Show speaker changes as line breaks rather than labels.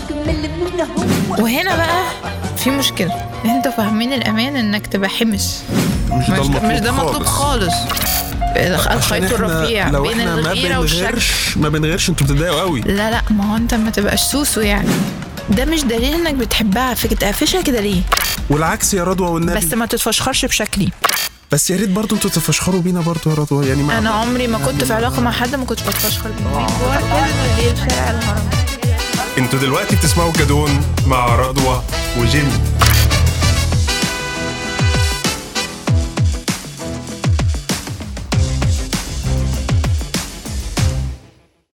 ابننا هو
وهنا بقى في مشكله انتوا فاهمين الامان انك تبقى حمش
مش ده
مش
المطلوب
مش ده مطلوب خالص
عشان
الخيط
احنا
الرفيع
لو
بين
احنا ما
الغيره والشك
بنغيرش ما بنغيرش انتوا بتتضايقوا قوي
لا لا ما هو انت ما تبقاش سوسو يعني ده مش دليل انك بتحبها فكتقفشها كده ليه
والعكس يا رضوى والنبي
بس
بس,
ما تتفشخرش بشكلي
بس يا ريت برضه انتوا تتفشخروا بينا برضه يا رضوى يعني ما
انا عمري ما كنت في علاقه مع حد ما كنتش بتفشخر بيه ولا كده غير شارع الهرم
انتوا دلوقتي بتسمعوا جدون مع رضوى وجيمي